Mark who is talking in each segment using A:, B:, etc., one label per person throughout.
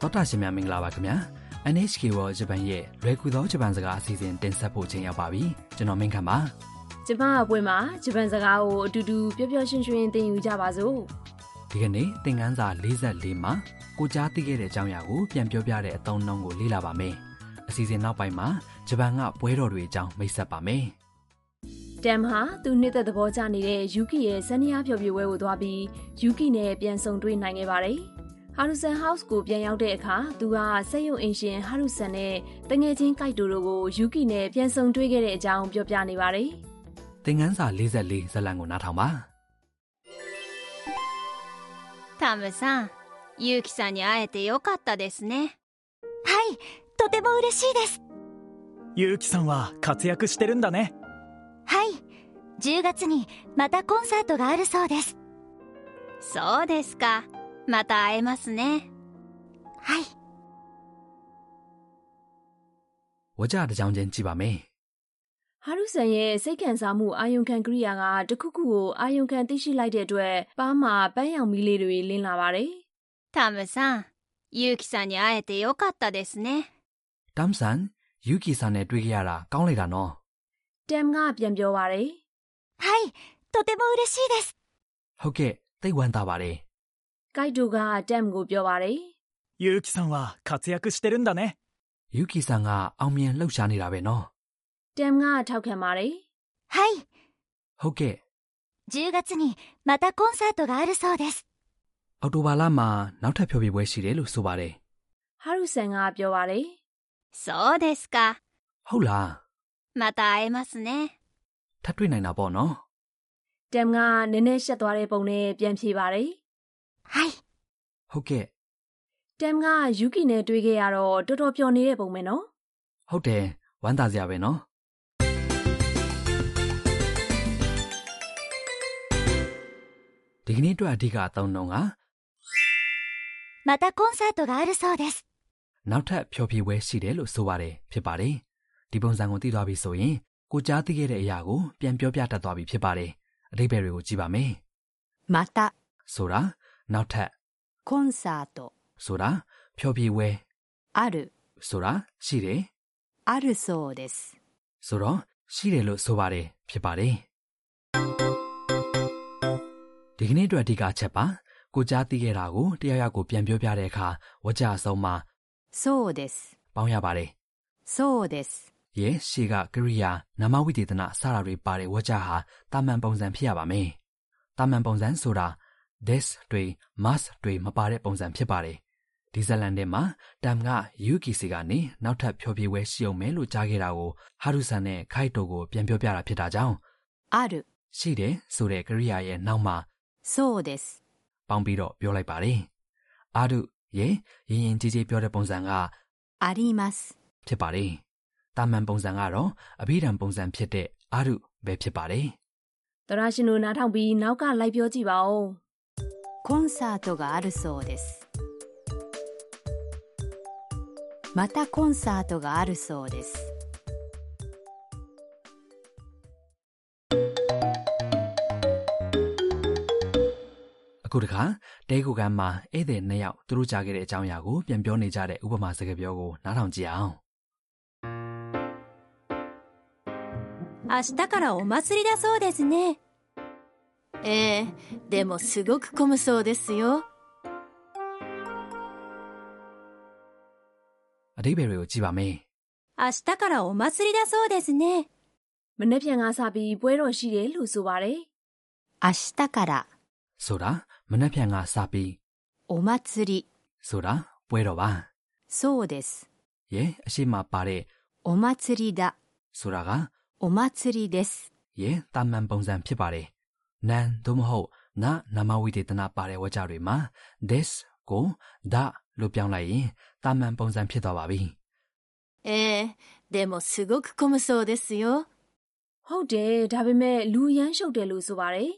A: တော်တာရှင်များမင်္ဂလာပါခင်ဗျာ NHK World Japan ရဲ့လွယ်ကူသောဂျပန်စကားအစီအစဉ်တင်ဆက်ဖို့ချိန်ရောက်ပါပြီကျွန်တော်မင်းခမ်းပါ
B: ဂျပန်အပွင့်မှာဂျပန်စကားကိုအတူတူပျော်ပျော်ရွှင်ရွှင်သင်ယူကြပါစို့
A: ဒီကနေ့သင်ခန်းစာ44မှာကိုကြားသိခဲ့တဲ့အကြောင်းအရာကိုပြန်ပြောပြတဲ့အသုံးအနှုန်းကိုလေ့လာပါမယ်အစီအစဉ်နောက်ပိုင်းမှာဂျပန်ကပွဲတော်တွေအကြောင်းမိတ်ဆက်ပါမယ်
B: တမ်ဟာသူနှစ်သက်သဘောကျနေတဲ့ယူကီရဲ့ဇန်နီးယားဖျော်ဖြေပွဲကိုသွားပြီးယူကီနဲ့ပြန်ဆုံတွေ့နိုင်ခဲ့ပါတယ်ဟာရူဆန်ဟောက်စ်ကိုပြန်ရောက်တဲ့အခါသူကစက်ရုံအင်ရှင်ဟာရူဆန်နဲ့တငယ်ချင်းကိုက်တိုတို့ကိုယူကီနဲ့ပြန်ဆုံတွေ့ခဲ့တဲ့အကြောင်းပြောပြနေပါတယ်
A: သင်ခန်းစာ44ဇာတ်လမ်းကိုနားထောင်ပါ
C: タムさん、ユウキさんに会えてよかったですね。
D: はい、とても嬉しいです。
E: ゆうきさんは活躍してるんだね
D: はい、10月にまたコンサートがあるそうです。
C: そうですか。また会えますね。
D: はい、
A: ဝကြတစ်ကြောင်းချင်းကြည့်ပါမယ်
B: ဟာရူဆန်ရဲ့စိတ်ခံစားမှုအာယုန်ခံကရိယာကတစ်ခုခုကိုအာယုန်ခံသိရှိလိုက်တဲ့အတွက်ပါးမှာပန်းရောင်မီးလေးတွေလင်းလာပါတယ်
C: タムさん、ユウキさんに会えてよかったですね。
A: တမ်ဆန်ယူကီဆန်နဲ့တွေ့ခဲ့ရတာကောင်းလိုက်တာနော်
B: တမ်ကပြန်ပြောပါတယ်
D: はい、とても嬉しいです。
A: ဟုတ်ကဲ့သိပ်ဝမ်းသာပါတယ်
B: ။ကိုက်တိုကတမ်ကိုပြောပါတယ်
E: ゆうきさんは活躍してるんだね
A: ယူကီဆန်ကအောင်မြင်လှုပ်ရှားနေတာပဲနော်
B: ။တမ်ကထောက်ခံပါတယ်
D: はい、
A: ဟုတ်ကဲ့
D: 10月にまたコンサートがあるそうです。
A: အော်တိုဘာလမှာနောက်ထပ်ဖျော်ဖြေပွဲရှိတယ်လို့ဆိုပါတယ်
B: ။ဟာရူဆန်ကပြောပါတယ်
C: そうですか。
A: ။ဟုတ်လား
C: また会えますね。
A: ။ထပ်တွေ့နိုင်တာပေါ့နော်
B: ။တမ်ကနည်းနည်းရှက်သွားတဲ့ပုံနဲ့ပြန်ဖြေပါတယ်
D: はい、
A: ။ဟုတ်ကဲ့
B: ။တမ်ကယူကီနဲ့တွေ့ခဲ့ရတော့တော်တော်ပျော်နေတဲ့ပုံပဲနော်
A: ဟုတ်တယ်ဝမ်းသာစရာပဲနော်။ဒီကနေ့အတွက်အဓိကအသုံးနှုန်းက
D: またコンサートがあるそうです。
A: နောက်ထပ်ဖျော်ဖြေပွဲရှိတယ်လို့ဆိုပါတယ်ဖြစ်ပါတယ်။ဒီပုံစံကိုသိသွားပြီဆိုရင်ကိုကြားသိခဲ့တဲ့အရာကိုပြန်ပြောပြတတ်သွားပြီဖြစ်ပါတယ်။အတိတ်ဘယ်တွေကိုကြည့်ပါမယ်
F: また
A: ။ဆိုတာနောက်ထပ်
F: コンサート
A: ဆိုတာဖျော်ဖြေပွဲ
F: ある
A: ဆိုတာရှိတယ်
F: あるそうです
A: ဆိုတော့ရှိတယ်လို့ဆိုပါတယ်ဖြစ်ပါတယ်ဒီကနေ့အတွက်အဓိကအချက်ပါကိုကြားသိခဲ့တာကိုတရားရကိုပြန်ပြောပြတဲ့အခါဝကြအဆုံးမှာ
F: そうです
A: ပေါင်းရပါတယ်
F: そうです
A: ရဲ့ရှေကကရိယာနာမဝိသေသနစတာတွေပါတဲ့ဝကြဟာတာမန်ပုံစံဖြစ်ရပါမယ်တာမန်ပုံစံဆိုတာ this တွေ must တွေမပါတဲ့ပုံစံဖြစ်ပါတယ်ဒီဇာတ်လန်ထဲမှာတမ်ကယူကီစီကနေနောက်ထပ်ဖြောပြပွဲရှိအောင်မယ်လို့ကြားခဲ့တာကိုဟာရူဆန်နဲ့ခိုက်တိုကိုပြန်ပြောပြတာဖြစ်တာကြောင့်
F: ある
A: ရှိတယ်ဆိုတဲ့ကရိယာရဲ့နောက်မှာ
F: そうです
A: ပေါင်းပြီးတော့ပြောလိုက်ပါတယ်။အာဓုရေရင်ရင်ကြီးကြီးပြောတဲ့ပုံစံက
F: あります
A: ဖြစ်ပါတယ်။တာမန်ပုံစံကတော့အဘိဓမ္မာပုံစံဖြစ်တဲ့အာဓုပဲဖြစ်ပါတယ်
B: ။သရရှင်တို့နားထောင်ပြီးနောက်ကလိုက်ပြောကြည့်ပါဦး
F: コンサートがあるそうですまたコンサートがあるそうです
A: ။အခုတခါတဲကူကမ်းမှာဧည့်သည်နှစ်ယောက်သူတို့ကြားခဲ့တဲ့အကြောင်းအရာကိုပြန်ပြောနေကြတဲ့ဥပမာစကားပြောကိုနားထောင်ကြည့်အောင်
D: 明日からお祭りだそうですね。ええ、でもすごく混むそうですよ。
A: ။အတိပ္ပယ်တွေကိုကြည့်ပါမယ်
D: 明日からお祭りだそうですね。
B: ။မနေ့ပြန်ကစပြီးပွဲတော်ရှိတယ်လို့ဆိုပါတယ်
F: 明日から
A: ။ဆိုတာမနှက်ဖြန်ကစပြီး
F: お祭り
A: ဆိုတာပွဲတော်ပါ
F: そうです
A: ။ရေအရှိမပါတဲ့
F: お祭りだ
A: ဆိုတာက
F: お祭りです
A: ရဲ့တာမန်ပုံစံဖြစ်ပါတယ်။နန်သို့မဟုတ်နာနာမဝိသေသနာပါတဲ့ဝါကျတွေမှာ this ကို da လို့ပြောင်းလိုက်ရင်တာမန်ပုံစံဖြစ်သွားပါပြီ
D: ええ、でもすごく混むそうですよ。
B: ။ဟုတ်တယ်ဒါပေမဲ့လူရမ်းရှုပ်တယ်လို့ဆိုပါတယ်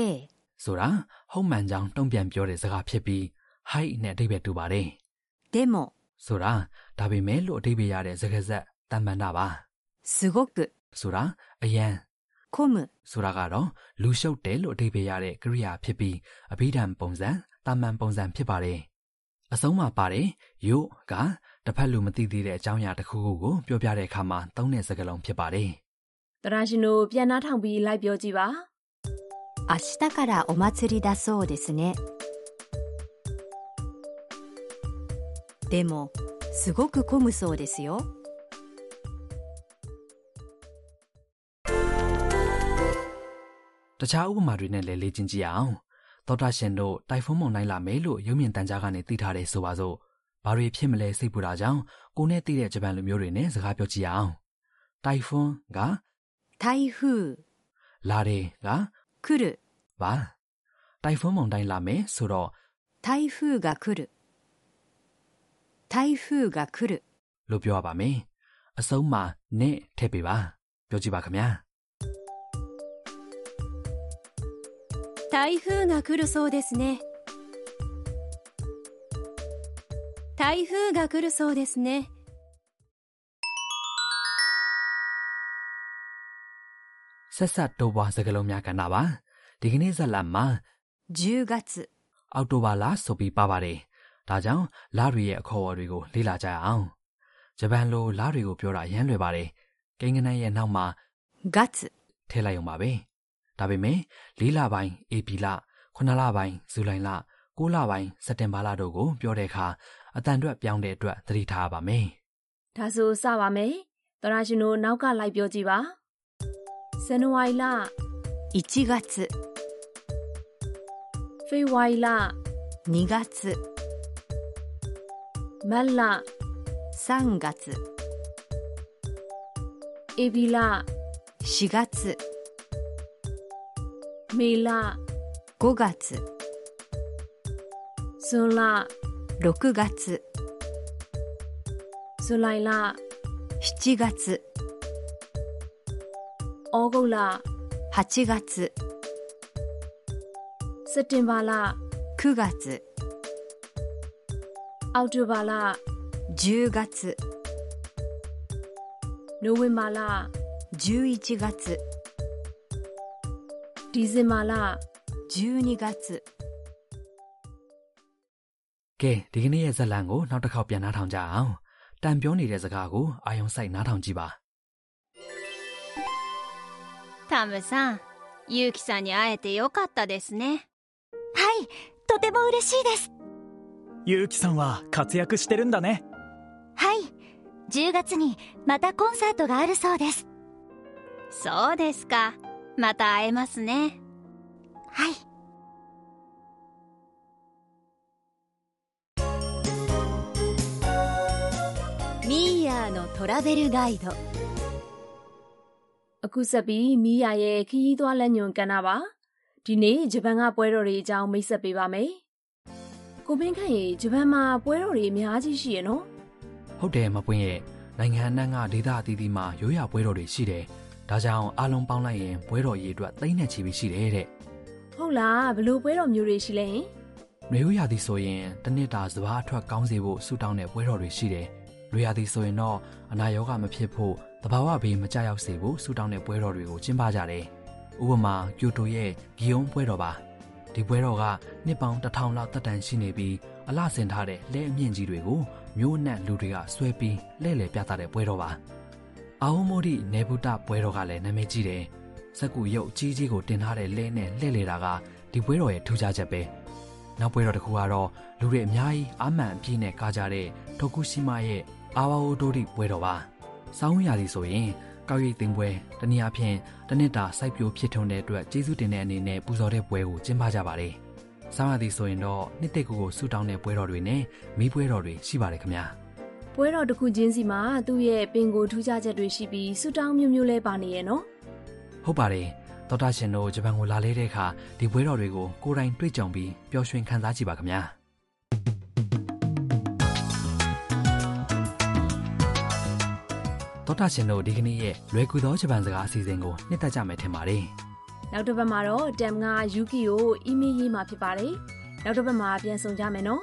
F: A
A: ။ဆိုတာဟုတ်မှန်ကြောင်းတုံ့ပြန်ပြောတဲ့စကားဖြစ်ပြီး hi နဲ့အဓိပ္ပာယ်တူပါတယ်
F: でも
A: ။ဆိုတာဒါပေမဲ့လို့အဓိပ္ပာယ်ရတဲ့စကားဆက်တာမန်တာပါ
F: すごく
A: ။ဆိုတာအရန်
F: 混む
A: ဆိုတာကတော့လူရှုပ်တယ်လို့အဓိပ္ပာယ်ရတဲ့ကရိယာဖြစ်ပြီးအဘိဓမ္မာပုံစံတာမန်ပုံစံဖြစ်ပါတယ် အဆုံးမှာပါတယ်ယို့ကတစ်ဖက်လူမသိသေးတဲ့အကြောင်းအရာတစ်ခုခုကိုပြောပြတဲ့အခါမှာသုံးတဲ့စကားလုံးဖြစ်ပါတယ်
B: တရာရှင်တို့ပြန်နှားထောင်ပြီးလိုက်ပြောကြည့်ပါ
F: 明日からお祭りだそうですねでもすごく混むそうですよ
A: တခြားဥပမာတွေနဲ့လည်းလေ့ကျင့်ကြည့်ရအောင်ဒေါက်တာရှင်တို့တိုင်ဖုန်းမုန်တိုင်းလာမယ်လို့ရုပ်မြင်သံကြားကနေသိထားတယ်ဆိုပါစို့ဘာတွေဖြစ်မလဲစိတ်ပူတာကြောင့်ကိုနဲ့သိတဲ့ဂျပန်လူမျိုးတွေနဲ့စကားပြောကြည့်ရအောင်တိုင်ဖုန်းက
F: 台風
A: လာတယ်က
F: 来る
A: ပါတိုင်ဖုန်းမုန်တိုင်းလာမယ်ဆိုတော့
F: 台風が来る台風が来る
A: လို့ပြောရပါမယ်အဆုံးမှာနဲ့ထည့်ပေးပါပြောကြည့်ပါခင်ဗျာ
D: 台風が来るそうですね台風が来るそうですね
A: ဆက်ဆက်တိုးပွားစကားလုံးများကဏ္ဍပါဒီကနေ့ဇက်လတ်မှာ
F: 10月
A: အောက်တိုဘာလဆိုပြီးပါပါတယ်။ဒါကြောင့်လတွေရဲ့အခေါ်အဝေါ်တွေကိုလေ့လာကြရအောင်။ဂျပန်လိုလတွေကိုပြောတာရမ်းလွယ်ပါတယ်။ကိန်းဂဏန်းရဲ့နောက်မှာ
F: 月
A: ထည့်လိုက်အောင်ပါပဲ။ဒါပေမဲ့၄လပိုင်း AP လ9လပိုင်းဇူလိုင်လ9လပိုင်းစက်တင်ဘာလတို့ကိုပြောတဲ့အခါအတန်အတွက်ပြောင်းတဲ့အတွက်သတိထားရပါမယ်
B: ဒါဆိုစပါမယ်တရာရှင်တို့နောက်ကလိုက်ပြောကြည့်ပါဇန်နဝါရီလ
F: 1月
B: ဖေဖော်ဝါရီလ
F: 2月
B: မတ်လ
F: 3月
B: ဧပြီလ
F: 4月
B: မေလ
F: 5月
B: ဇွန်လ
F: 6月
B: ဇူလိုင်လ
F: 7月
B: ဩဂုတ်လ
F: 8月
B: စက်တင်ဘာလ
F: 9月
B: အောက်တိုဘာလ
F: 10月
B: နိုဝင်ဘာလ
F: 11月
B: ဒီဇင်ဘာလ
F: 12月
A: ။ကဲဒီကနေ့ရဲ့ဇတ်လံကိုနောက်တစ်ခေါက်ပြန်နားထောင်ကြအောင်။တန်ပြောနေတဲ့စကားကိုအာယုံစိုက်နားထောင်ကြည့်ပါ
C: タムさんユウキさんに会えてよかったですね
D: はいとても嬉しいです
E: ゆうきさんは活躍してるんだね
D: はい10月にまたコンサートがあるそうです
C: そうですかまた会えますね
D: はいミーヤーのトラベルガイド
B: အခုဆက်ပြီးမိယာရဲ့ခရီးသွားလက်ညွန်ကဏ္ဍပါဒီနေ့ဂျပန်ကပွဲတော်တွေအကြောင်းမိတ်ဆက်ပေးပါမယ်ကိုမင်းခန့်ရေဂျပန်မှာပွဲတော်တွေအများကြီးရှိရနော်
A: ။ဟုတ်တယ်မပွင့်ရဲ့နိုင်ငံအနှံ့ကဒေသအသီးသီးမှာရိုးရာပွဲတော်တွေရှိတယ်။ဒါကြောင့်အားလုံးပေါင်းလိုက်ရင်ပွဲတော်ရေးအတွက်သိန်းနဲ့ချီပြီးရှိတယ်တဲ့။
B: ဟုတ်လားဘယ်လို့ပွဲတော်မျိုးတွေရှိလဲဟင်
A: နွေဦးရာသီဆိုရင်တစ်နှစ်တာစဘာအထွက်ကောင်းစေဖို့ဆူတောင်းတဲ့ပွဲတော်တွေရှိတယ်။နွေရာသီဆိုရင်တော့အနာရောဂါမဖြစ်ဖို့တဘာဝဘေးမကြောက်ရောက်စေဖို့ဆူတောင်းတဲ့ပွဲတော်တွေကိုကျင်းပကြတယ်။ဥပမာကျိုတိုရဲ့ဂီယုံပွဲတော်ပါ။ဒီပွဲတော်ကနှစ်ပေါင်းတစ်ထောင်လောက်တက်တန်ရှိနေပြီးအလှဆင်ထားတဲ့လက်အမြင့်ကြီးတွေကိုမြို့အနှံ့လူတွေကဆွဲပြီးလဲလှယ်ပြသတဲ့ပွဲတော်ပါ။အာဝမိုရီနေဗုတပွဲတော်ကလည်းနာမည်ကြီးတယ်။စက္ကူရုပ်ကြီးကြီးကိုတင်ထားတဲ့လဲနဲ့လှည့်လေတာကဒီပွဲတော်ရဲ့ထူးခြားချက်ပဲ။ နောက်ပွဲတော်တစ်ခုကတော့လူတွေအများကြီးအာမန်အပြည့်နဲ့ကားကြတဲ့တိုကူရှိမာရဲ့အာဝါအိုဒိုရီပွဲတော်ပါ။ဆောင်းရာသီဆိုရင်ကောက်ရိပ်သိမ်းပွဲတနည်းအားဖြင့်တစ်နှစ်တာစိုက်ပျိုးဖြစ်ထွန်းတဲ့အတွက်ကျေးဇူးတင်တဲ့အနေနဲ့ပူဇော်တဲ့ပွဲကိုကျင်းပကြပါတယ်။ဆောင်းရာသီဆိုရင်တော့နှစ်သက်ကိုကိုဆူတောင်းတဲ့ပွဲတော်တွေနဲ့မီးပွဲတော်တွေရှိပါတယ်ခင်ဗျာ
B: ပွဲတော်တစ်ခုချင်းစီမှာသူ့ရဲ့ပင်ကိုထူးခြားချက်တွေရှိပြီးဆူတောင်းမျိုးမျိုးလဲပါနေရနော်
A: ။ဟုတ်ပါတယ်။ဒေါက်တာရှင်တို့ဂျပန်ကိုလာလဲတဲ့အခါဒီပွဲတော်တွေကိုကိုယ်တိုင်တွေ့ကြုံပြီးပျော်ရွှင်ခံစားကြည့်ပါခင်ဗျာ။ ။ဒေါက်တာရှင်တို့ဒီကနေ့ရဲ့လွယ်ကူသောဂျပန်စကားအစီအစဉ်ကိုနှစ်သက်ကြမယ်ထင်ပါတယ်
B: နောက်တစ်ပတ်မှာတော့တမ်ကယူကီကိုအီးမေးလ်ရေးမှာဖြစ်ပါတယ်နောက်တစ်ပတ်မှာပြန်ဆောင်ကြမယ်နော်